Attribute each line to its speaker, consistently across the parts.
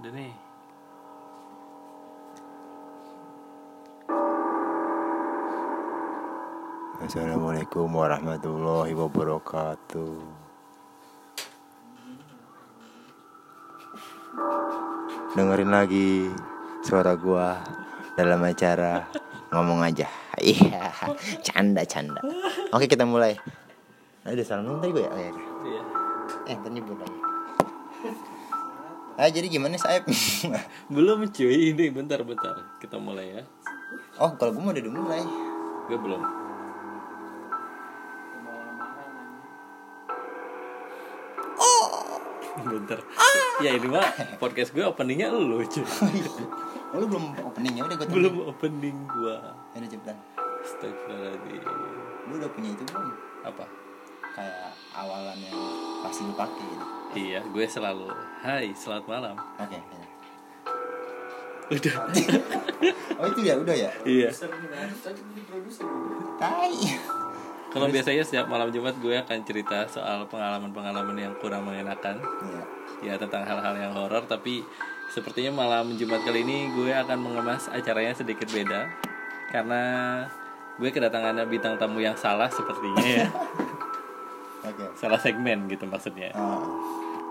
Speaker 1: Udah nih.
Speaker 2: Assalamualaikum warahmatullahi wabarakatuh. Dengerin lagi suara gua dalam acara ngomong aja. Iya, canda canda. Oke kita mulai. Eh, Ada salam dong tadi gue ya. Oh, iya.
Speaker 1: Iya.
Speaker 2: Eh, ntar nyebut lagi. Ah, jadi gimana Saib?
Speaker 1: Belum cuy, ini bentar bentar. Kita mulai ya.
Speaker 2: oh, kalau gue mau udah dimulai.
Speaker 1: Gue belum. Oh. Bentar. Ya ini mah podcast gue openingnya lu cuy.
Speaker 2: Oh, lu belum opening ya udah gue tunggu.
Speaker 1: Belum opening gua.
Speaker 2: Ya udah cepetan.
Speaker 1: Astagfirullahaladzim.
Speaker 2: Lu udah punya itu belum?
Speaker 1: Apa?
Speaker 2: kayak awalan yang pasti lu pakai gitu.
Speaker 1: Iya, gue selalu. Hai, selamat malam.
Speaker 2: Oke. ya.
Speaker 1: Udah.
Speaker 2: Oh itu ya udah ya.
Speaker 1: iya.
Speaker 2: Tai.
Speaker 1: Kalau biasanya setiap malam Jumat gue akan cerita soal pengalaman-pengalaman yang kurang mengenakan.
Speaker 2: Iya.
Speaker 1: ya tentang hal-hal yang horor tapi sepertinya malam Jumat kali ini gue akan mengemas acaranya sedikit beda karena gue kedatangan bintang tamu yang salah sepertinya ya
Speaker 2: Oke.
Speaker 1: salah segmen gitu maksudnya
Speaker 2: Ah,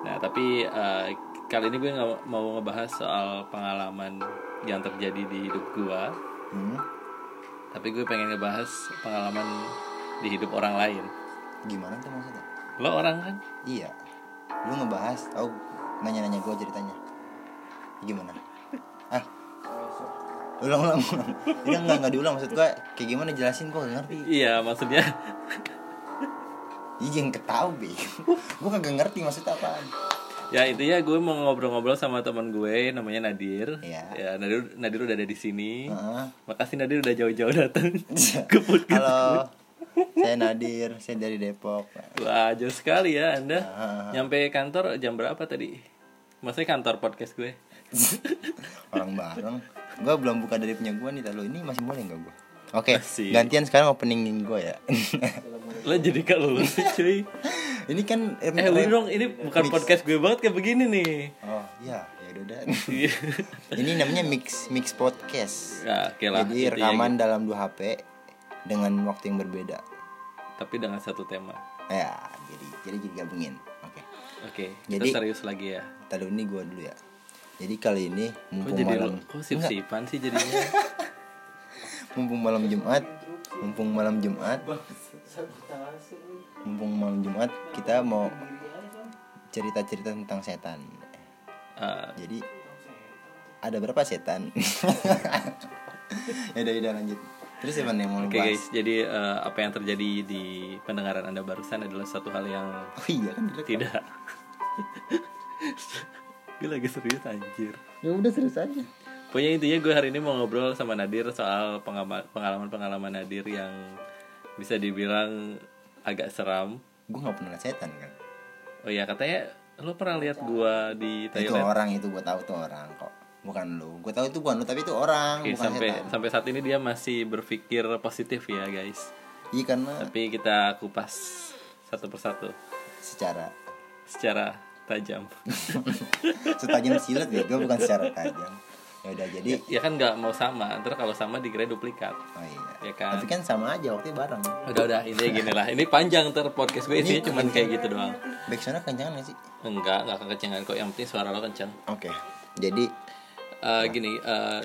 Speaker 1: nah tapi eh, kali ini gue nggak mau ngebahas soal pengalaman yang terjadi di hidup gue
Speaker 2: hmm.
Speaker 1: tapi gue pengen ngebahas pengalaman di hidup orang lain
Speaker 2: Gimana tuh maksudnya?
Speaker 1: lo orang kan
Speaker 2: Iya. Lu ngebahas tau nanya-nanya gua ceritanya. Gimana? Ah. Ulang ulang ulang. Iya enggak enggak diulang maksud gua kayak gimana jelasin gua nggak ngerti.
Speaker 1: iya maksudnya
Speaker 2: Iya yang ketau be. gua kagak ngerti maksudnya apaan.
Speaker 1: Ya intinya gue mau ngobrol-ngobrol sama teman gue namanya Nadir.
Speaker 2: Iya.
Speaker 1: Ya Nadir Nadir udah ada di sini.
Speaker 2: Heeh. Iya.
Speaker 1: Makasih Nadir udah jauh-jauh datang ke podcast.
Speaker 2: Ah. Halo. Saya Nadir, saya dari Depok.
Speaker 1: Wah jauh sekali ya Anda.
Speaker 2: Heeh.
Speaker 1: Nyampe kantor jam berapa tadi? Maksudnya kantor podcast gue.
Speaker 2: orang bareng gue belum buka dari punya gue nih lalu ini masih boleh nggak gue oke
Speaker 1: Masih.
Speaker 2: gantian sekarang openingin gue ya
Speaker 1: Lo jadi kalau lu cuy.
Speaker 2: ini kan eh,
Speaker 1: Eh udah dong ini bukan podcast gue banget kayak begini nih.
Speaker 2: oh iya ya udah dah.
Speaker 1: Iya.
Speaker 2: ini namanya mix mix podcast
Speaker 1: ya, gitu. oke lah.
Speaker 2: jadi
Speaker 1: intinya
Speaker 2: rekaman dalam dua hp dengan waktu yang berbeda
Speaker 1: gitu. Tapi dengan satu tema.
Speaker 2: ya jadi jadi jadi gabungin oke
Speaker 1: Oke,
Speaker 2: Jadi-
Speaker 1: kita serius lagi ya.
Speaker 2: tadi ini gue dulu ya jadi kali ini
Speaker 1: Kok
Speaker 2: mumpung
Speaker 1: jadi lo?
Speaker 2: malam
Speaker 1: Kok sip-sipan sih jadinya?
Speaker 2: mumpung malam Jumat, mumpung malam Jumat, mumpung malam Jumat kita mau cerita-cerita tentang setan.
Speaker 1: Eh,
Speaker 2: Jadi ada berapa setan? ya udah udah lanjut. Terus siapa nih yang mau
Speaker 1: Oke
Speaker 2: bahas?
Speaker 1: guys, jadi eh, apa yang terjadi di pendengaran Anda barusan adalah satu hal yang
Speaker 2: Oh iya kan direkam.
Speaker 1: tidak. gue lagi serius anjir.
Speaker 2: Ya udah serius aja.
Speaker 1: Pokoknya intinya gue hari ini mau ngobrol sama Nadir soal pengama- pengalaman-pengalaman Nadir yang bisa dibilang agak seram.
Speaker 2: Gue nggak pernah liat setan kan.
Speaker 1: Oh iya katanya lo pernah lihat gua di
Speaker 2: Itu
Speaker 1: Thailand?
Speaker 2: orang itu gue tahu tuh orang kok. Bukan lu, gue tahu itu bukan lu tapi itu orang
Speaker 1: Oke,
Speaker 2: bukan
Speaker 1: sampai
Speaker 2: setan.
Speaker 1: sampai saat ini dia masih berpikir positif ya guys.
Speaker 2: Iya karena
Speaker 1: Tapi kita kupas satu persatu
Speaker 2: secara
Speaker 1: secara tajam.
Speaker 2: setajam silat ya, gue bukan secara tajam. Ya udah jadi
Speaker 1: ya kan nggak mau sama ntar kalau sama dikira duplikat
Speaker 2: Oh
Speaker 1: Ya
Speaker 2: iya.
Speaker 1: kan?
Speaker 2: Tapi kan sama aja waktu bareng.
Speaker 1: udah udah intinya gini lah ini panjang ntar podcast gue isinya cuman kayak gitu doang
Speaker 2: Back soundnya kencang gak sih?
Speaker 1: enggak enggak kekencangan kok yang penting suara lo kencang
Speaker 2: Oke. Jadi
Speaker 1: Eh, gini eh,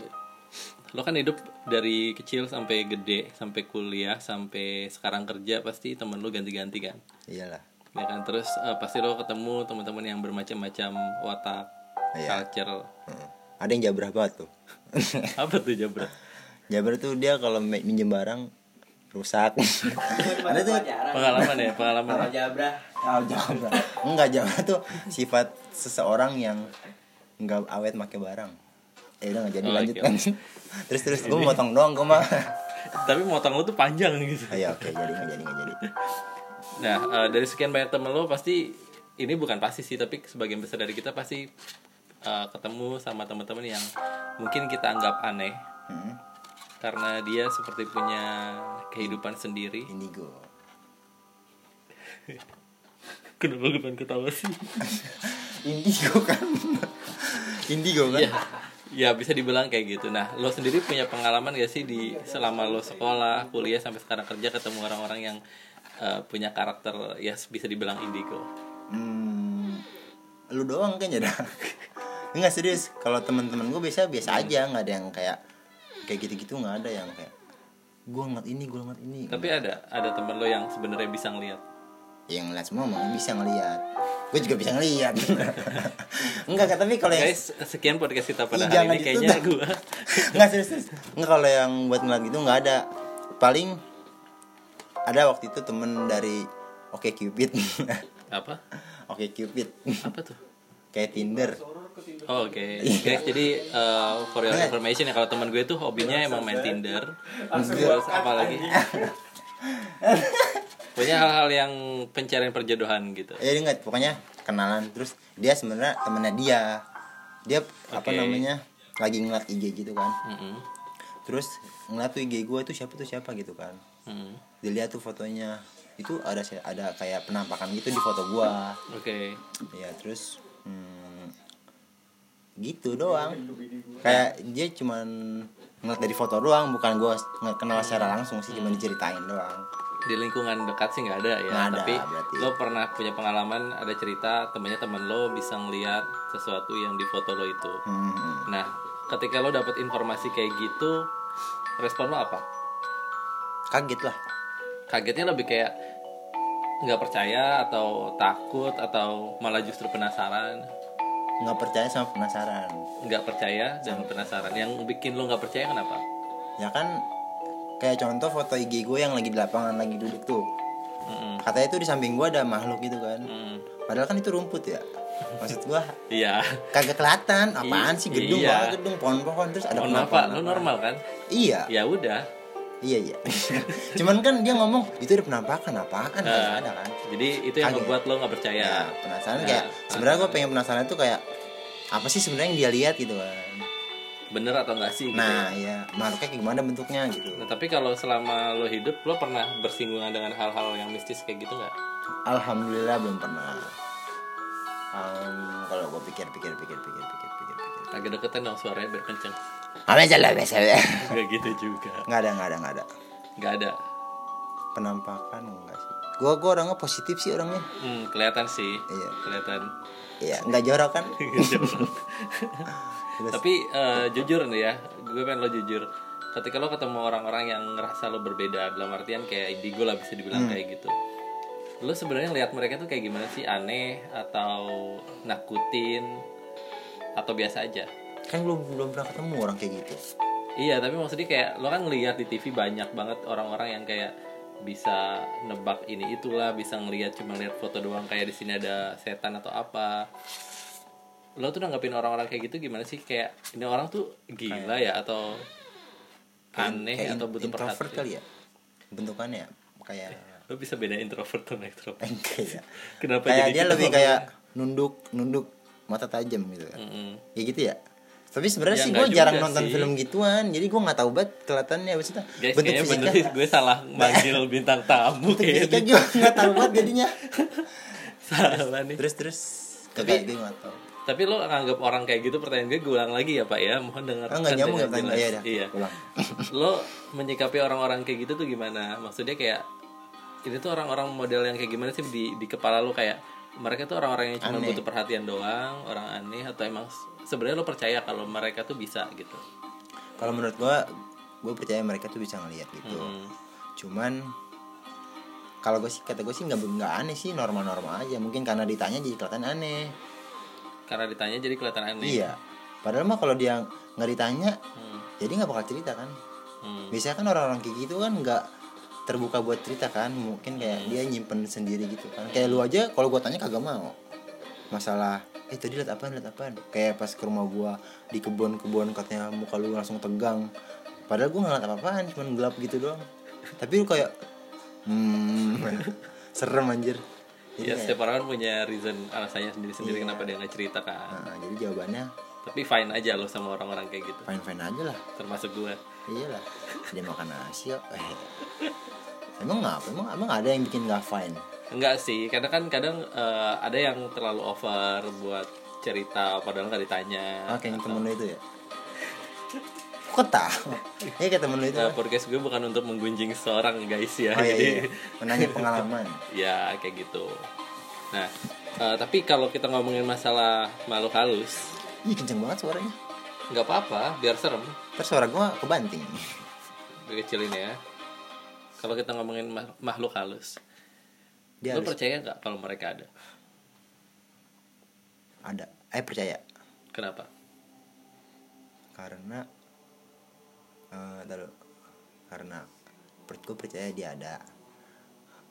Speaker 1: lo kan hidup dari kecil sampai gede sampai kuliah sampai sekarang kerja pasti temen lo ganti-ganti kan
Speaker 2: iyalah.
Speaker 1: ya kan terus eh, pasti lo ketemu teman-teman yang bermacam-macam watak
Speaker 2: Iya.
Speaker 1: culture
Speaker 2: Heeh. Ada yang jabrah banget tuh.
Speaker 1: apa tuh jabra
Speaker 2: jabrah tuh dia kalau mi- minjem barang rusak. Ada tuh
Speaker 1: pengalaman ya pengalaman
Speaker 2: oh, jabrah. Enggak jabrah tuh sifat seseorang yang enggak awet make barang. Ya udah nggak jadi
Speaker 1: Oh, oke,
Speaker 2: lanjut kan. terus terus gue motong doang gue mah.
Speaker 1: tapi motong lo tuh panjang gitu
Speaker 2: Oh, iya oke jadi nggak jadi nggak jadi.
Speaker 1: Nah, eh, dari sekian banyak temen lo pasti ini bukan pasti sih, tapi sebagian besar dari kita pasti eh, ketemu sama teman-teman yang mungkin kita anggap aneh
Speaker 2: Hmm,
Speaker 1: karena dia seperti punya kehidupan sendiri.
Speaker 2: indigo.
Speaker 1: Kenapa gue pengen ketawa sih?
Speaker 2: Indigo kan. Indigo kan?
Speaker 1: Iya. Ya bisa dibilang kayak gitu. Nah, lo sendiri punya pengalaman gak sih di selama lo sekolah, kuliah sampai sekarang kerja ketemu orang-orang yang eh, punya karakter ya bisa dibilang indigo.
Speaker 2: Hmm, lu doang kayaknya dah. Enggak serius, kalau teman-teman gue biasa
Speaker 1: Hmm.
Speaker 2: biasa aja, nggak ada yang kayak kayak gitu-gitu nggak ada yang kayak gue ngeliat ini, gue ngeliat ini.
Speaker 1: Tapi ada ada temen lo yang sebenarnya bisa ngeliat.
Speaker 2: Ya, yang ngeliat semua emang bisa ngeliat. Gue juga bisa ngeliat. Enggak, Kak, tapi kalau yang
Speaker 1: Guys, sekian podcast kita pada
Speaker 2: Ih,
Speaker 1: hari
Speaker 2: jangan
Speaker 1: ini kayaknya
Speaker 2: ditunda.
Speaker 1: gua
Speaker 2: nggak serius, serius. nggak kalau yang buat ngeliat gitu nggak ada paling ada waktu itu temen dari Oke Cupid
Speaker 1: apa?
Speaker 2: Oke Cupid
Speaker 1: Apa tuh?
Speaker 2: kayak Tinder
Speaker 1: Oh, Oke,
Speaker 2: Iya.
Speaker 1: guys. Jadi eh, for your information ya kalau teman gue tuh hobinya emang main Tinder. Terus apalagi? Pokoknya hal-hal yang pencarian perjodohan gitu.
Speaker 2: ya ingat pokoknya kenalan terus dia sebenarnya temennya dia dia apa
Speaker 1: Oke.
Speaker 2: namanya lagi ngeliat IG gitu kan
Speaker 1: Mm-mm.
Speaker 2: terus ngeliat tuh IG gue tuh siapa tuh siapa gitu kan
Speaker 1: Mm.
Speaker 2: dilihat tuh fotonya itu ada se- ada kayak penampakan gitu di foto gua
Speaker 1: Oke.
Speaker 2: ya terus hmm, gitu doang kayak dia cuman ngeliat dari foto doang bukan gua nge- kenal secara langsung sih cuma diceritain doang
Speaker 1: Di lingkungan dekat sih nggak ada ya.
Speaker 2: Nggak ada,
Speaker 1: Tapi
Speaker 2: berarti.
Speaker 1: lo pernah punya pengalaman ada cerita temennya teman lo bisa ngeliat sesuatu yang di foto lo itu.
Speaker 2: Hmm.
Speaker 1: Nah, ketika lo dapet informasi kayak gitu, respon lo apa?
Speaker 2: kaget lah
Speaker 1: kagetnya lebih kayak nggak percaya atau takut atau malah justru penasaran
Speaker 2: nggak percaya sama penasaran
Speaker 1: nggak percaya dan penasaran yang bikin lo nggak percaya kenapa
Speaker 2: ya kan kayak contoh foto IG gue yang lagi di lapangan lagi duduk tuh
Speaker 1: Mm-mm.
Speaker 2: katanya tuh di samping gua ada makhluk gitu kan
Speaker 1: Mm.
Speaker 2: padahal kan itu rumput ya maksud gua
Speaker 1: iya
Speaker 2: kagak kelihatan
Speaker 1: I-
Speaker 2: apaan sih gedung
Speaker 1: iya.
Speaker 2: banget gedung pohon-pohon terus ada
Speaker 1: mohon maaf
Speaker 2: penampakan
Speaker 1: Pak, lo
Speaker 2: apa.
Speaker 1: Oh, normal kan
Speaker 2: iya
Speaker 1: ya udah
Speaker 2: iya iya cuman kan dia ngomong itu ada penampakan apaan Nggak
Speaker 1: Eh,
Speaker 2: ada kan
Speaker 1: jadi itu yang
Speaker 2: Kaget.
Speaker 1: membuat lo nggak percaya
Speaker 2: ya penasaran
Speaker 1: Nah,
Speaker 2: kayak sebenarnya gue
Speaker 1: penasaran.
Speaker 2: pengen penasaran itu kayak apa sih sebenarnya yang dia lihat gitu kan
Speaker 1: bener atau nggak sih gitu ya.
Speaker 2: nah ya makhluknya kayak gimana bentuknya gitu
Speaker 1: Nah, tapi kalau selama lo hidup lo pernah bersinggungan dengan hal-hal yang mistis kayak gitu nggak
Speaker 2: alhamdulillah belum pernah Em, kalau gue pikir pikir pikir pikir pikir pikir pikir
Speaker 1: agak deketan dong suaranya biar kenceng
Speaker 2: apa aja lah biasa ya.
Speaker 1: nggak gitu juga
Speaker 2: nggak ada nggak ada nggak ada
Speaker 1: nggak ada
Speaker 2: penampakan enggak sih gue gue orangnya positif sih orangnya
Speaker 1: hmm, kelihatan sih
Speaker 2: Iya.
Speaker 1: kelihatan Gitu.
Speaker 2: Iya, nggak jorok kan Terus-
Speaker 1: Tapi eh, jujur nih ya, gue pengen lo jujur. Ketika lo ketemu orang-orang yang ngerasa lo berbeda dalam artian kayak indigo lah bisa dibilang kayak gitu. Lo sebenarnya lihat mereka tuh kayak gimana sih? Aneh atau nakutin atau biasa aja?
Speaker 2: kan belum belum pernah ketemu orang kayak gitu
Speaker 1: Iya, tapi maksudnya kayak lo kan ngelihat di TV banyak banget orang-orang yang kayak bisa nebak ini itulah, bisa ngelihat cuma lihat foto doang kayak di sini ada setan atau apa. Lo tuh nanggapin orang-orang kayak gitu gimana sih? Kayak ini orang tuh gila ya atau aneh
Speaker 2: Kayak in-
Speaker 1: atau butuh
Speaker 2: introvert
Speaker 1: perhatian.
Speaker 2: kali ya bentukannya ya? kayak
Speaker 1: Lo bisa beda introvert sama
Speaker 2: Eh,
Speaker 1: extrovert.
Speaker 2: kayak
Speaker 1: Kenapa jadi
Speaker 2: kayak dia
Speaker 1: gitu?
Speaker 2: lebih kayak nunduk nunduk mata tajam gitu kan
Speaker 1: Mm-mm.
Speaker 2: ya gitu ya tapi sebenarnya
Speaker 1: Ya,
Speaker 2: sih gue
Speaker 1: nggak
Speaker 2: jarang
Speaker 1: juga
Speaker 2: nonton
Speaker 1: sih.
Speaker 2: film gituan jadi gue nggak tahu banget kelihatannya maksudnya
Speaker 1: Guys,
Speaker 2: bentuk
Speaker 1: kayaknya bener
Speaker 2: fisiknya
Speaker 1: sih gue salah manggil bintang tamu
Speaker 2: bentuk fisiknya
Speaker 1: kayaknya.
Speaker 2: gue nggak tahu banget jadinya
Speaker 1: salah nih.
Speaker 2: terus terus
Speaker 1: Tapi-
Speaker 2: kagak gue nggak tahu
Speaker 1: Tapi lo nganggap orang kayak gitu pertanyaan gue gue ulang lagi ya Pak ya. Mohon dengar.
Speaker 2: Ah, nggak nyambung ya pertanyaan ya dah
Speaker 1: Iya.
Speaker 2: pulang
Speaker 1: lo menyikapi orang-orang kayak gitu tuh gimana? Maksudnya kayak ini tuh orang-orang model yang kayak gimana sih di di kepala lo kayak mereka tuh orang-orang yang cuma
Speaker 2: Aneh.
Speaker 1: butuh perhatian doang, orang aneh atau emang s- sebenarnya lo percaya kalau mereka tuh bisa gitu.
Speaker 2: kalau menurut gue gue percaya mereka tuh bisa ngelihat gitu
Speaker 1: Mm.
Speaker 2: cuman kalau gue sih kata gue sih nggak nggak aneh sih normal-normal aja mungkin karena ditanya jadi kelihatan aneh
Speaker 1: Karena ditanya jadi kelihatan aneh.
Speaker 2: iya padahal mah kalau dia nggak ditanya
Speaker 1: Hmm,
Speaker 2: jadi nggak bakal cerita kan
Speaker 1: hmm.
Speaker 2: biasanya kan orang-orang kayak gitu kan nggak terbuka buat cerita kan mungkin kayak dia nyimpen sendiri gitu kan kayak lu aja kalau gue tanya kagak mau masalah eh tadi liat apaan liat apaan kayak pas ke rumah gua di kebun-kebun katanya muka lu langsung tegang padahal gua ngeliat apa-apaan cuman gelap gitu doang tapi lu kayak hmm serem anjir
Speaker 1: Ya,
Speaker 2: jadi, kayak,
Speaker 1: setiap orang kan punya reason alasannya sendiri-sendiri
Speaker 2: Iya.
Speaker 1: kenapa dia nggak cerita kan.
Speaker 2: nah, jadi jawabannya
Speaker 1: Tapi fine aja lo sama orang-orang kayak gitu,
Speaker 2: fine fine aja lah
Speaker 1: termasuk gue.
Speaker 2: iyalah dia makan nasi kok. Eh. emang ngapa emang emang ada yang bikin gak fine
Speaker 1: Enggak sih, karena kan kadang eh, ada yang terlalu over buat cerita padahal nggak ditanya.
Speaker 2: Oh, kayaknya temen lu itu ya? Kok tahu? Iya kayak temen lu itu.
Speaker 1: Nah, podcast gue bukan untuk menggunjing seorang guys ya.
Speaker 2: Oh iya,
Speaker 1: Jadi
Speaker 2: iya. Menanya pengalaman.
Speaker 1: ya kayak gitu. Nah, eh, tapi kalau kita ngomongin masalah makhluk halus,
Speaker 2: Ih, kenceng banget suaranya.
Speaker 1: nggak apa-apa, biar serem.
Speaker 2: Terus suara gua kebanting.
Speaker 1: Gue kecilin ya. Kalau kita ngomongin ma- makhluk halus,
Speaker 2: Dia
Speaker 1: lo
Speaker 2: harus
Speaker 1: percaya nggak kalau mereka ada?
Speaker 2: ada. Eh percaya.
Speaker 1: Kenapa?
Speaker 2: Karena eh ntar dulu. karena per- gua percaya dia ada.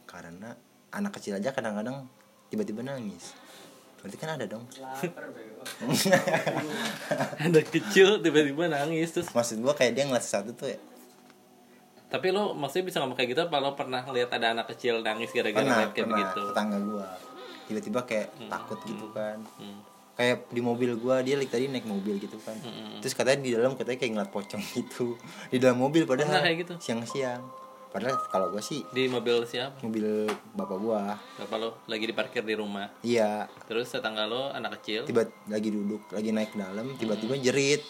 Speaker 2: Karena anak kecil aja kadang-kadang tiba-tiba nangis. Berarti kan ada dong.
Speaker 1: Ada kecil tiba-tiba nangis terus.
Speaker 2: Maksud gua kayak dia ngeliat sesuatu tuh ya.
Speaker 1: Tapi lo maksudnya bisa ngomong kayak gitu apa lo pernah lihat ada anak kecil nangis gara-gara
Speaker 2: pernah
Speaker 1: ngeliat kayak
Speaker 2: pernah
Speaker 1: begitu?
Speaker 2: tetangga gua tiba-tiba kayak takut gitu kan
Speaker 1: gitu. Hmm.
Speaker 2: kayak di mobil gua dia like, tadi naik mobil gitu kan
Speaker 1: hmm,
Speaker 2: terus katanya di dalam katanya kayak ngeliat pocong gitu di dalam mobil padahal
Speaker 1: Pernah kayak gitu?
Speaker 2: siang-siang padahal kalau gua sih
Speaker 1: Di mobil siapa?
Speaker 2: mobil bapak gua
Speaker 1: Bapak lo lagi diparkir di rumah.
Speaker 2: iya
Speaker 1: Terus tetangga lo anak kecil.
Speaker 2: tiba lagi duduk lagi naik ke dalam
Speaker 1: Hmm.
Speaker 2: tiba-tiba jerit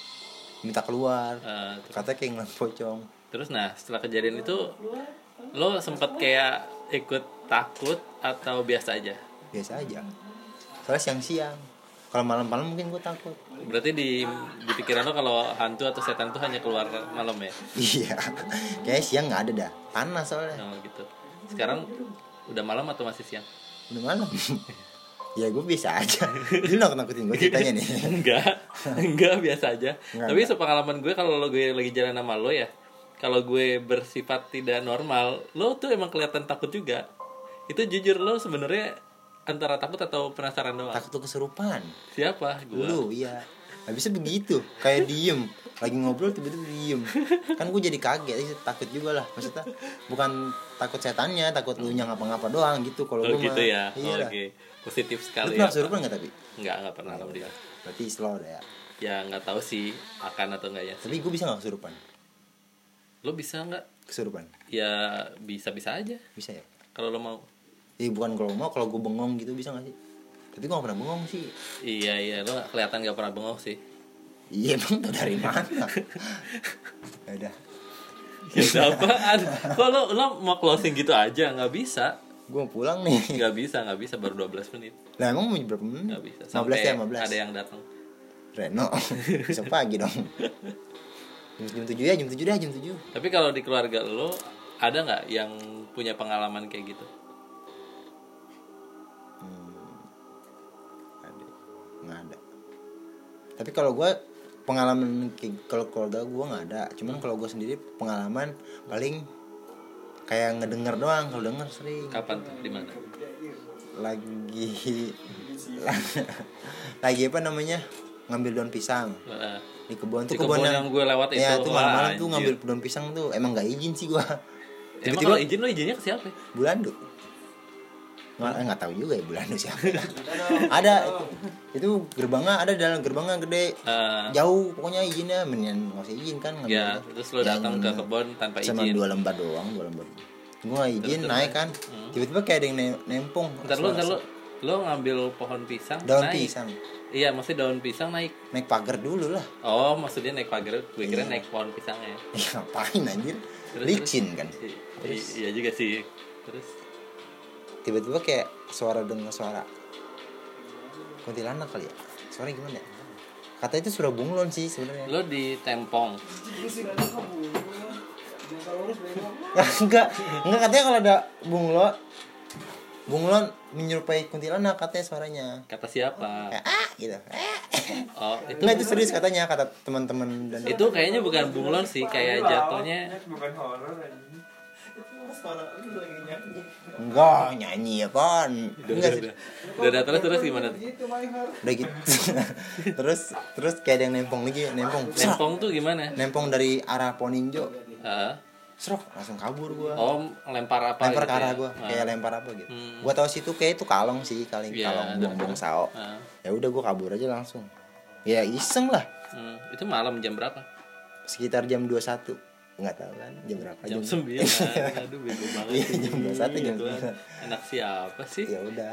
Speaker 2: minta keluar
Speaker 1: eh,
Speaker 2: katanya kayak ngeliat pocong
Speaker 1: Terus nah setelah kejadian itu lo sempet kayak ikut takut atau biasa aja?
Speaker 2: biasa aja soalnya siang-siang kalau malam-malam mungkin gua takut
Speaker 1: Berarti di di pikiran lo kalau hantu atau setan itu hanya keluar malam ya?
Speaker 2: iya kayak siang nggak ada dah panas soalnya
Speaker 1: Nah, gitu. Sekarang udah malam atau masih siang?
Speaker 2: Udah malam Ya gue biasa aja Lu nakut-nakutin gue ceritanya nih
Speaker 1: enggak, enggak biasa aja.
Speaker 2: Enggak,
Speaker 1: Tapi sepengalaman gue kalau lo gue lagi jalan sama lo ya, kalau gue bersifat tidak normal, lo tuh emang kelihatan takut juga. Itu jujur lo sebenarnya antara takut atau penasaran doang.
Speaker 2: Takut lu keserupaan
Speaker 1: Siapa? Gue.
Speaker 2: Lu iya Habisnya begitu Kayak diem Lagi ngobrol tiba-tiba diem Kan gue jadi kaget sih, Takut juga lah Maksudnya Bukan takut setannya Takut lu nya ngapa-ngapa doang gitu Kalau
Speaker 1: Oh
Speaker 2: gue
Speaker 1: gitu ya. Oh,
Speaker 2: Iya lah
Speaker 1: Oke. Positif
Speaker 2: Lu
Speaker 1: sekali. Ya.
Speaker 2: pernah kesurupan gak tapi?
Speaker 1: Enggak, enggak pernah alhamdulillah.
Speaker 2: Berarti slow dah ya
Speaker 1: Ya nggak tahu sih akan atau enggak ya.
Speaker 2: Tapi gue bisa gak kesurupan?
Speaker 1: Lo bisa nggak?
Speaker 2: Kesurupan?
Speaker 1: Ya bisa-bisa aja
Speaker 2: Bisa ya?
Speaker 1: kalau lo mau.
Speaker 2: Eh bukan kalau mau Kalau gue bengong gitu bisa gak sih? Tapi gue gak pernah bengong sih
Speaker 1: Iya iya lo kelihatan nggak pernah bengong sih.
Speaker 2: Iya emang tuh dari mana? Ya udah
Speaker 1: Ya udah apaan? Kok lo, lo mau closing gitu aja? Nggak bisa.
Speaker 2: gue mau pulang nih
Speaker 1: Nggak bisa, nggak bisa. Baru 12 menit.
Speaker 2: lah emang mau berapa menit
Speaker 1: Nggak bisa.
Speaker 2: 15 ya 15
Speaker 1: ada yang datang.
Speaker 2: Reno besok pagi dong jam, jam 7 ya jam 7 dah jam 7
Speaker 1: Tapi kalau di keluarga lo, ada nggak yang punya pengalaman kayak gitu? Hmm,
Speaker 2: ada nggak ada tapi kalau gue pengalaman kayak- kalau keluarga gue nggak ada cuman kalau gue sendiri pengalaman paling kayak ngedenger doang kalau denger sering
Speaker 1: Kapan tuh? Di mana?
Speaker 2: lagi lagi apa namanya ngambil daun pisang
Speaker 1: Eh,
Speaker 2: di kebun
Speaker 1: Di
Speaker 2: tuh
Speaker 1: kebun yang gue lewat itu,
Speaker 2: ya, tuh
Speaker 1: wah,
Speaker 2: malam-malam tuh
Speaker 1: anjir.
Speaker 2: ngambil daun pisang tuh emang nggak izin sih gua
Speaker 1: Emang
Speaker 2: tiba-tiba
Speaker 1: kalau izin lo izinnya ke siapa?
Speaker 2: bulandu nggak nggak tahu juga ya bulandu siapa ada itu gerbangnya ada dalam gerbangnya gede
Speaker 1: Eh,
Speaker 2: jauh pokoknya izinnya mendingan nggak usah izin kan ngambil
Speaker 1: ya, terus lo datang ke kebun tanpa
Speaker 2: sama
Speaker 1: izin.
Speaker 2: dua lembar doang dua lembar gua nggak izin naik kan tiba-tiba kayak ada yang ne- nempung
Speaker 1: Hmm. Ntar lo, ntar lo, lo ngambil pohon pisang
Speaker 2: daun
Speaker 1: naik.
Speaker 2: pisang
Speaker 1: Iya, maksudnya daun pisang naik.
Speaker 2: naik pagar dulu lah
Speaker 1: Oh, maksudnya naik pagar. Gue kira naik pohon pisangnya.
Speaker 2: Ih, ngapain anjir
Speaker 1: Terus,
Speaker 2: Iya. licin kan
Speaker 1: I- i- Iya juga sih. Terus
Speaker 2: tiba-tiba kayak suara dengan suara kuntilanak kali ya suara gimana ya kata itu suara bunglon sih sebenarnya
Speaker 1: lo ditempong.
Speaker 2: enggak enggak katanya kalau ada bunglon bunglon menyerupai kuntilanak katanya suaranya
Speaker 1: Kata siapa?
Speaker 2: kayak ah gitu Eh.
Speaker 1: Oh, itu
Speaker 2: enggak itu serius katanya kata teman-teman dan
Speaker 1: itu kayaknya bukan bunglon sih, kayak jatuhnya
Speaker 3: Iya, bukan horor anjing.
Speaker 2: enggak nyanyi apaan
Speaker 1: udah udah,
Speaker 2: enggak sih
Speaker 1: udah. Udah, udah, Nah, terus terus gimana? tuh?
Speaker 2: udah gitu terus terus kayak ada yang nempong lagi nempong Serak.
Speaker 1: Nempong tuh gimana?
Speaker 2: nempong dari arah Poninjo
Speaker 1: Heeh.
Speaker 2: serok langsung kabur gua
Speaker 1: oh, lempar apa?
Speaker 2: lempar
Speaker 1: gitu
Speaker 2: ke arah
Speaker 1: ya?
Speaker 2: gue
Speaker 1: Ah,
Speaker 2: kayak lempar apa gitu
Speaker 1: Hmm.
Speaker 2: gue tau situ kayak itu kalong sih kaleng
Speaker 1: Iya,
Speaker 2: kalong
Speaker 1: ada-
Speaker 2: buang-buang sao
Speaker 1: ah.
Speaker 2: ya udah gue kabur aja langsung ya iseng lah
Speaker 1: Hmm, itu malam jam berapa?
Speaker 2: sekitar jam 21 nggak tahu kan jam berapa
Speaker 1: Jam 9. Aduh, bego banget.
Speaker 2: Iya, jam Iya, 21, jam
Speaker 1: Gitu kan.
Speaker 2: 9.
Speaker 1: Anak siapa sih?
Speaker 2: ya udah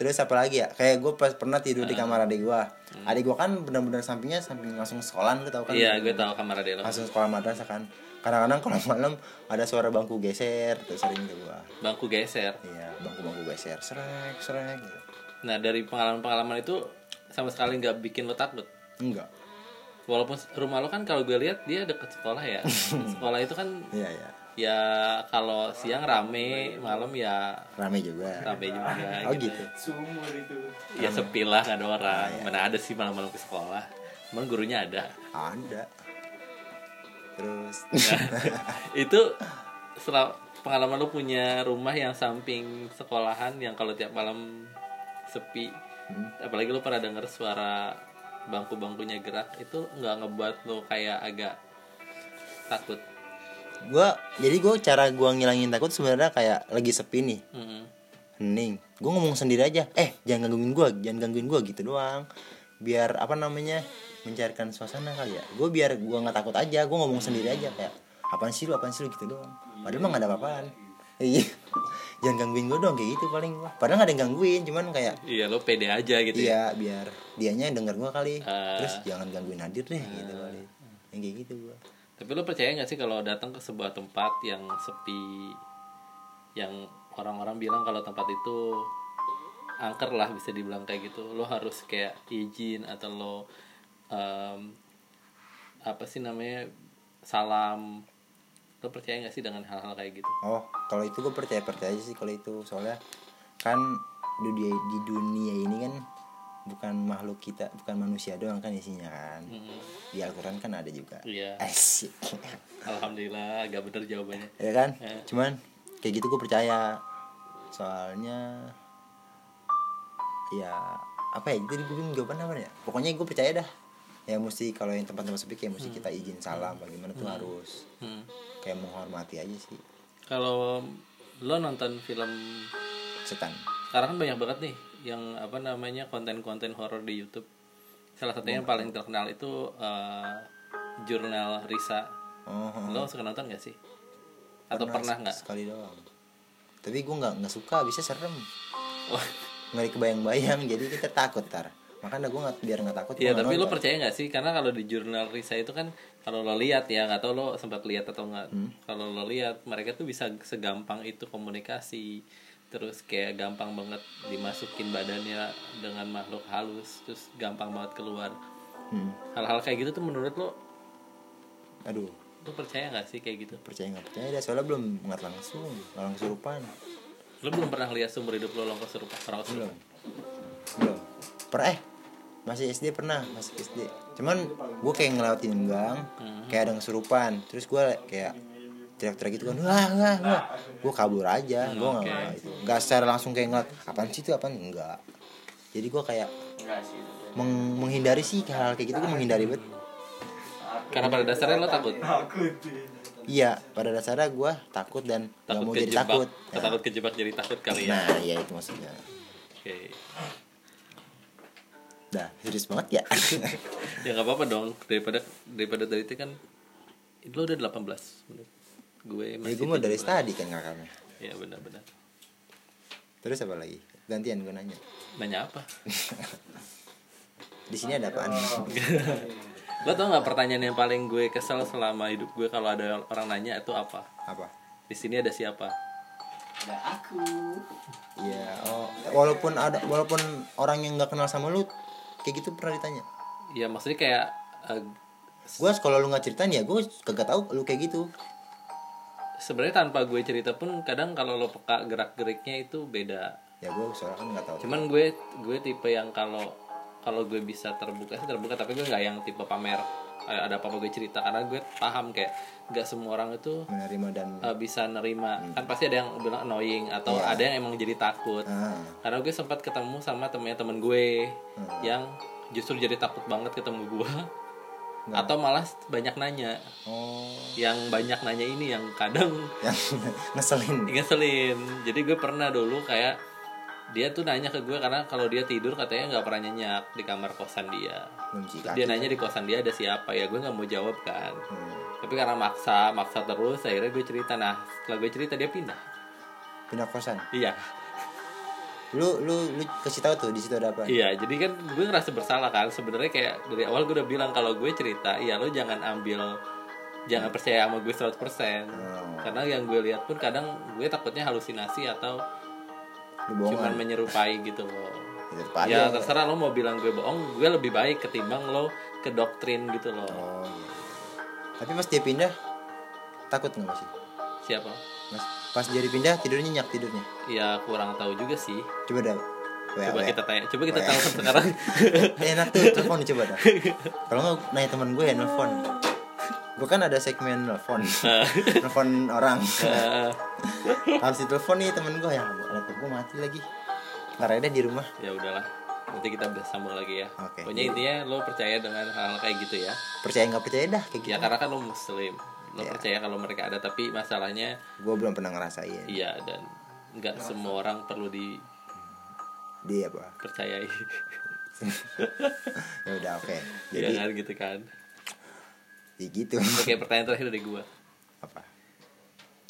Speaker 2: terus apa lagi ya kayak gue pas pernah tidur
Speaker 1: Ah.
Speaker 2: di kamar adik gue
Speaker 1: Hmm.
Speaker 2: adik gue kan benar-benar sampingnya samping langsung sekolah lu tau kan
Speaker 1: Iya, gue tahu kamar adek lo.
Speaker 2: langsung sekolah madrasah kan kadang-kadang kalau malam ada suara bangku geser terus sering gitu gue
Speaker 1: Bangku geser.
Speaker 2: iya bangku-bangku geser serek serek gitu
Speaker 1: Nah, dari pengalaman-pengalaman itu sama sekali nggak bikin lo takut.
Speaker 2: enggak
Speaker 1: Walaupun rumah lo kan kalau gue lihat dia deket sekolah ya. sekolah itu kan
Speaker 2: iya iya
Speaker 1: ya kalau siang rame, malam ya
Speaker 2: rame juga
Speaker 1: rame juga.
Speaker 2: oh gitu Iya.
Speaker 3: sumur itu
Speaker 1: Ya sepi lah nggak ada orang. Mana ada sih malam-malam ke sekolah. Emang gurunya ada.
Speaker 2: ada terus
Speaker 1: itu setelah pengalaman lo punya rumah yang samping sekolahan yang kalau tiap malam sepi apalagi lo pernah denger suara bangku-bangkunya gerak itu nggak ngebuat lo kayak agak takut
Speaker 2: gua jadi gue cara gue ngilangin takut sebenarnya kayak lagi sepi nih
Speaker 1: Mm-mm.
Speaker 2: hening gue ngomong sendiri aja eh jangan gangguin gue jangan gangguin gue gitu doang biar apa namanya mencairkan suasana kali ya gue biar gue nggak takut aja gue ngomong sendiri aja kayak apaan sih lu apaan sih lu gitu doang padahal mah gak ada apa-apaan iya jangan gangguin gue dong kayak gitu paling gua. padahal gak ada yang gangguin cuman kayak
Speaker 1: iya lo pede aja gitu ya
Speaker 2: iya biar dianya yang denger gue kali
Speaker 1: Ah.
Speaker 2: terus jangan gangguin hadir deh gitu kali yang kayak gitu gue
Speaker 1: tapi lo percaya nggak sih kalau datang ke sebuah tempat yang sepi yang orang-orang bilang kalau tempat itu angker lah bisa dibilang kayak gitu lo harus kayak izin atau lo em, apa sih namanya salam lo percaya nggak sih dengan hal-hal kayak gitu
Speaker 2: Oh, kalau itu gue percaya percaya aja sih kalau itu soalnya kan di dunia, di dunia ini kan bukan makhluk kita, bukan manusia doang kan isinya kan.
Speaker 1: Mm,
Speaker 2: Di Al-Qur'an kan ada juga.
Speaker 1: iya
Speaker 2: Asik.
Speaker 1: alhamdulillah agak bener jawabannya
Speaker 2: ya kan? Cuman kayak gitu gue percaya. Soalnya ya apa ya jadi gue bingung jawaban apa ya pokoknya gue percaya dah ya mesti kalau yang tempat-tempat sepi kayak mesti kita izin salam bagaimana tuh harus
Speaker 1: Hmm.
Speaker 2: kayak menghormati aja sih
Speaker 1: kalau lo nonton film
Speaker 2: setan
Speaker 1: sekarang kan banyak banget nih yang apa namanya konten-konten horor di YouTube salah satunya yang paling terkenal itu eh, jurnal Risa
Speaker 2: oh, oh.
Speaker 1: lo suka nonton gak sih atau pernah nggak
Speaker 2: sekali doang tapi gue nggak nggak suka bisa serem
Speaker 1: Wah,
Speaker 2: nggak kebayang-bayang jadi kita takut tar makanya gue nggak biar nggak takut gua
Speaker 1: Iya
Speaker 2: nggak
Speaker 1: tapi lo
Speaker 2: nonton.
Speaker 1: percaya nggak sih karena kalau di jurnal Risa itu kan kalau lo lihat ya nggak tahu lo sempat lihat atau nggak kalau lo lihat mereka tuh bisa segampang itu komunikasi terus kayak gampang banget dimasukin badannya dengan makhluk halus terus gampang banget keluar
Speaker 2: Hmm.
Speaker 1: hal-hal kayak gitu tuh menurut lo
Speaker 2: aduh
Speaker 1: Lu percaya gak sih kayak gitu?
Speaker 2: percaya nggak percaya dah soalnya belum nggak langsung nggak langsung rupan
Speaker 1: Lu belum pernah lihat sumber hidup lu orang kesurupan orang kesurupan?
Speaker 2: belum belum pernah eh masih SD pernah masih SD cuman gue kayak ngelewatin gang
Speaker 1: Hmm.
Speaker 2: kayak ada yang kesurupan terus gue kayak teriak-teriak gitu kan wah wah wah gue kabur aja gue nggak
Speaker 1: oke.
Speaker 2: nggak itu nggak secara langsung kayak ngeliat apaan sih itu apaan enggak jadi gue kayak
Speaker 3: enggak sih itu.
Speaker 2: meng- menghindari sih hal kayak gitu gue menghindari banget
Speaker 1: Karena pada dasarnya lo takut
Speaker 3: takut
Speaker 2: iya pada dasarnya gue takut dan nggak
Speaker 1: Takut
Speaker 2: mau jadi
Speaker 1: kejebak
Speaker 2: takut Ya.
Speaker 1: Takut kejebak jadi takut kali ya
Speaker 2: nah iya itu maksudnya
Speaker 1: Oke
Speaker 2: dah serius banget ya
Speaker 1: Ya gak apa-apa dong Daripada daripada dari itu kan Lu udah 18 menit Gue
Speaker 2: jadi
Speaker 1: masih
Speaker 2: gue Iya, mau dari
Speaker 1: 17.
Speaker 2: tadi kan kakaknya
Speaker 1: Iya benar-benar
Speaker 2: terus apa lagi gantian gue nanya
Speaker 1: Nanya apa?
Speaker 2: di sini ada apaan
Speaker 1: Oh. Lo tau gak pertanyaan yang paling gue kesel selama hidup gue kalau ada orang nanya itu apa?
Speaker 2: apa
Speaker 1: Di sini ada siapa?
Speaker 3: ada aku
Speaker 2: iya oh walaupun ada walaupun orang yang nggak kenal sama lu kayak gitu pernah ditanya
Speaker 1: Ya maksudnya kayak eh,
Speaker 2: gue kalau lu nggak ceritain ya gue kagak tahu lu kayak gitu
Speaker 1: sebenarnya tanpa gue cerita pun kadang kalau lo peka gerak geriknya itu beda
Speaker 2: ya gue soalnya kan nggak tahu
Speaker 1: cuman gue gue tipe yang kalau kalau gue bisa terbuka sih terbuka tapi gue nggak yang tipe pamer eh, ada apa apa gue cerita karena gue paham kayak nggak semua orang itu
Speaker 2: menerima dan
Speaker 1: eh, bisa nerima kan pasti ada yang bilang annoying atau ada yang emang jadi takut
Speaker 2: ah
Speaker 1: karena gue sempat ketemu sama temennya temen gue yang justru jadi takut banget ketemu gue atau malah banyak nanya
Speaker 2: oh
Speaker 1: yang banyak nanya ini yang kadang
Speaker 2: yang ngeselin
Speaker 1: ngeselin jadi gue pernah dulu kayak dia tuh nanya ke gue karena kalau dia tidur katanya nggak pernah nyenyak di kamar kosan dia
Speaker 2: kunci
Speaker 1: Terus
Speaker 2: kaki
Speaker 1: dia nanya di kosan dia ada siapa ya gue nggak mau jawab kan
Speaker 2: Hmm.
Speaker 1: tapi karena maksa maksa terus akhirnya gue cerita nah setelah gue cerita dia pindah
Speaker 2: pindah kosan
Speaker 1: iya
Speaker 2: lu lu lu kasih tahu tuh di situ ada apa
Speaker 1: Iya, jadi kan gue ngerasa bersalah kan. Sebenarnya kayak dari awal gue udah bilang kalau gue cerita, iya lo jangan ambil jangan percaya sama gue 100%. Karena yang gue lihat pun kadang gue takutnya halusinasi atau cuman
Speaker 2: lu bohongan
Speaker 1: menyerupai gitu loh.
Speaker 2: Itu parah.
Speaker 1: Ya terserah lo mau bilang gue bohong, gue lebih baik ketimbang lo ke doktrin gitu loh.
Speaker 2: Oh, iya. tapi pas dia pindah takut nggak masih
Speaker 1: Siapa?
Speaker 2: mas pas dia pindah tidurnya nyenyak tidurnya
Speaker 1: Ya kurang tahu juga sih.
Speaker 2: coba dah Wa-
Speaker 1: Coba
Speaker 2: wa-
Speaker 1: kita tanya, coba kita
Speaker 2: Weh.
Speaker 1: tahu sekarang.
Speaker 2: Eh, enak tuh telepon coba dah kalau nggak nanya teman gue ya nelfon gue kan ada segmen nelfon nelfon orang
Speaker 1: Eh,
Speaker 2: habis ditelepon nih temen gue ya laptop gue mati lagi ntar ada di rumah
Speaker 1: ya udahlah. Nanti kita bisa sambung lagi ya.
Speaker 2: Oke.
Speaker 1: Pokoknya intinya lo percaya dengan hal-hal kayak gitu ya.
Speaker 2: percaya nggak percaya dah kayak gitu
Speaker 1: Ya karena kan lo muslim Lo
Speaker 2: Ya.
Speaker 1: percaya kalau mereka ada Tapi masalahnya
Speaker 2: gue belum pernah ngerasain
Speaker 1: Iya dan nggak semua orang perlu
Speaker 2: dia apa
Speaker 1: dipercayai
Speaker 2: ya udah oke
Speaker 1: Ya
Speaker 2: jadi
Speaker 1: kan gitu kan
Speaker 2: ya gitu
Speaker 1: Oke pertanyaan terakhir dari gue
Speaker 2: apa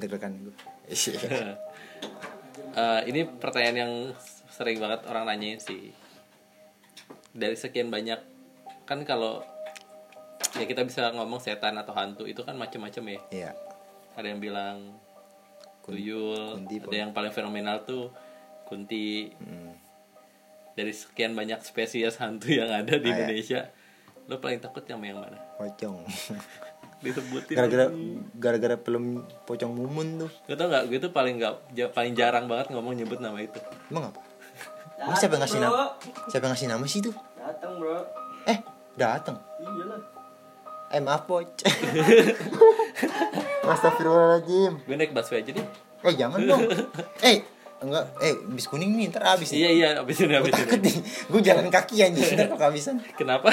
Speaker 2: deg-degan gue
Speaker 1: Iya. Eh, Ini pertanyaan yang sering banget orang nanyain sih Dari sekian banyak Kan kalau Ya kita bisa ngomong setan atau hantu Itu kan macem-macem ya
Speaker 2: iya
Speaker 1: Ada yang bilang
Speaker 2: Kun-
Speaker 1: tuyul
Speaker 2: kunti,
Speaker 1: Ada
Speaker 2: pokoknya.
Speaker 1: yang paling fenomenal tuh Kunti
Speaker 2: hmm.
Speaker 1: dari sekian banyak spesies hantu yang ada di
Speaker 2: Ah, ya.
Speaker 1: Indonesia lo paling takut sama yang mana
Speaker 2: pocong
Speaker 1: disebutin
Speaker 2: gara-gara gara-gara film pocong mumun tuh
Speaker 1: gue tau nggak gue tuh paling nggak ja- paling jarang banget ngomong nyebut nama itu
Speaker 2: emang apa Emang siapa yang ngasih
Speaker 3: Bro.
Speaker 2: nama siapa yang ngasih nama sih tuh
Speaker 3: Datang bro.
Speaker 2: eh datang
Speaker 3: Iyalah.
Speaker 2: eh maaf poc Astagfirullahaladzim
Speaker 1: gue naik busway aja deh
Speaker 2: Eh jangan dong. eh enggak. Eh bis kuning nih ntar habis.
Speaker 1: iya iya abis ini abis
Speaker 2: Takut
Speaker 1: ini
Speaker 2: nih. Gue jalan kaki anjir ntar kok kehabisan.
Speaker 1: kenapa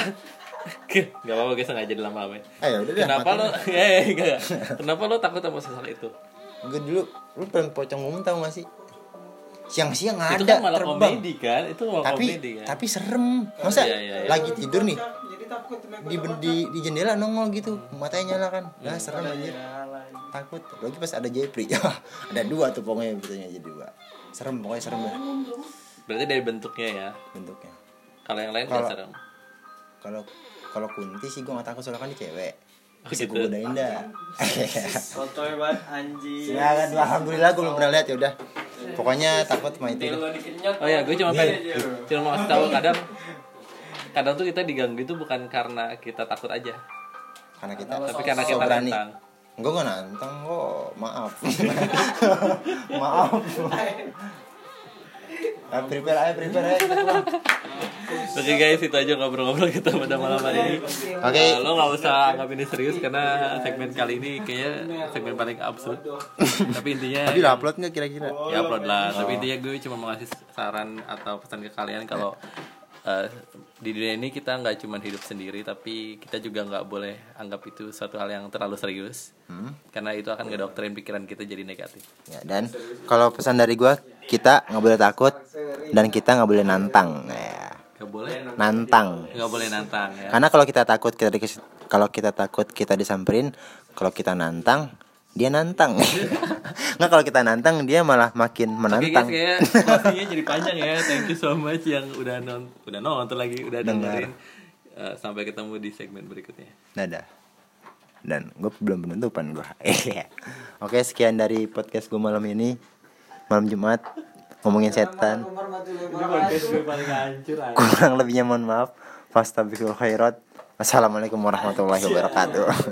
Speaker 1: nggak apa-apa gue sengaja dalam lama
Speaker 2: Eh ya udah deh.
Speaker 1: kenapa lo eh enggak, enggak. kenapa lo takut sama sosok itu
Speaker 2: Gue dulu lu pernah pocong mumun tau gak sih? Siang-siang
Speaker 1: itu
Speaker 2: ada
Speaker 1: kan malah
Speaker 2: terbang.
Speaker 1: komedi kan itu malah
Speaker 2: Tapi
Speaker 1: komedi kan
Speaker 2: tapi serem. Masa
Speaker 1: Iya, iya, iya.
Speaker 2: lagi tidur nih
Speaker 3: Jadi takut sama
Speaker 2: di, di di jendela nongol gitu matanya nyala kan nah
Speaker 1: Iya,
Speaker 2: serem anjir
Speaker 3: Jalan.
Speaker 2: takut lagi pas ada Jepri ada dua tuh pokoknya betulnya jadi dua serem pokoknya serem lah
Speaker 1: berarti dari bentuknya ya
Speaker 2: bentuknya
Speaker 1: kalau yang lain kan
Speaker 2: Kalau-
Speaker 1: serem
Speaker 2: kalau kalau kunti sih gue gak takut soalnya kan dia cewek
Speaker 1: Oh,
Speaker 2: bisa
Speaker 1: gitu.
Speaker 2: gue godain dah
Speaker 3: Sotoy banget anjing.
Speaker 2: silakan alhamdulillah gue belum pernah lihat ya udah pokoknya takut sama itu dah.
Speaker 3: Telo dikenyot.
Speaker 1: Oh ya, gue cuma
Speaker 2: Iya,
Speaker 1: pengen cuma mau kasih tahu kadang kadang tuh kita diganggu itu bukan karena kita takut aja,
Speaker 2: karena kita
Speaker 1: tapi karena
Speaker 2: so
Speaker 1: kita
Speaker 2: berani.
Speaker 1: nantang.
Speaker 2: gue gak nantang kok maaf maaf I prepare, I prepare, I prepare.
Speaker 1: Oke guys, itu aja ngobrol-ngobrol kita pada malam hari ini.
Speaker 2: Oke.
Speaker 1: Eh, lo nggak usah anggap ini serius karena segmen kali ini kayaknya segmen paling absurd. tapi intinya
Speaker 2: Tadi udah upload nggak kira-kira?
Speaker 1: ya upload lah. Tapi intinya gue cuma mau ngasih saran atau pesan ke kalian kalau eh, di dunia ini kita nggak cuma hidup sendiri, tapi kita juga nggak boleh anggap itu suatu hal yang terlalu serius. Karena itu akan ngedoktrin pikiran kita jadi negatif.
Speaker 2: Ya, dan kalau pesan dari gue, kita nggak boleh takut dan kita nggak boleh nantang, ya.
Speaker 1: Gak boleh
Speaker 2: nantang.
Speaker 1: nggak boleh nantang ya.
Speaker 2: Karena kalau kita takut kita dikes- kalau kita takut kita disamperin, kalau kita nantang dia nantang. Nggak kalau kita nantang dia malah makin
Speaker 1: Oke guys,
Speaker 2: menantang.
Speaker 1: kayak closingnya jadi panjang ya. Thank you so much yang udah non udah nonton lagi, udah dengerin. Eh, sampai ketemu di segmen berikutnya.
Speaker 2: Dadah. Dan gue belum penutupan gue. Oke sekian dari podcast gue malam ini malam Jumat ngomongin setan.
Speaker 1: gue paling hancur
Speaker 2: Kurang lebihnya mohon maaf. Fastabiqul khairat. Wassalamualaikum warahmatullahi wabarakatuh.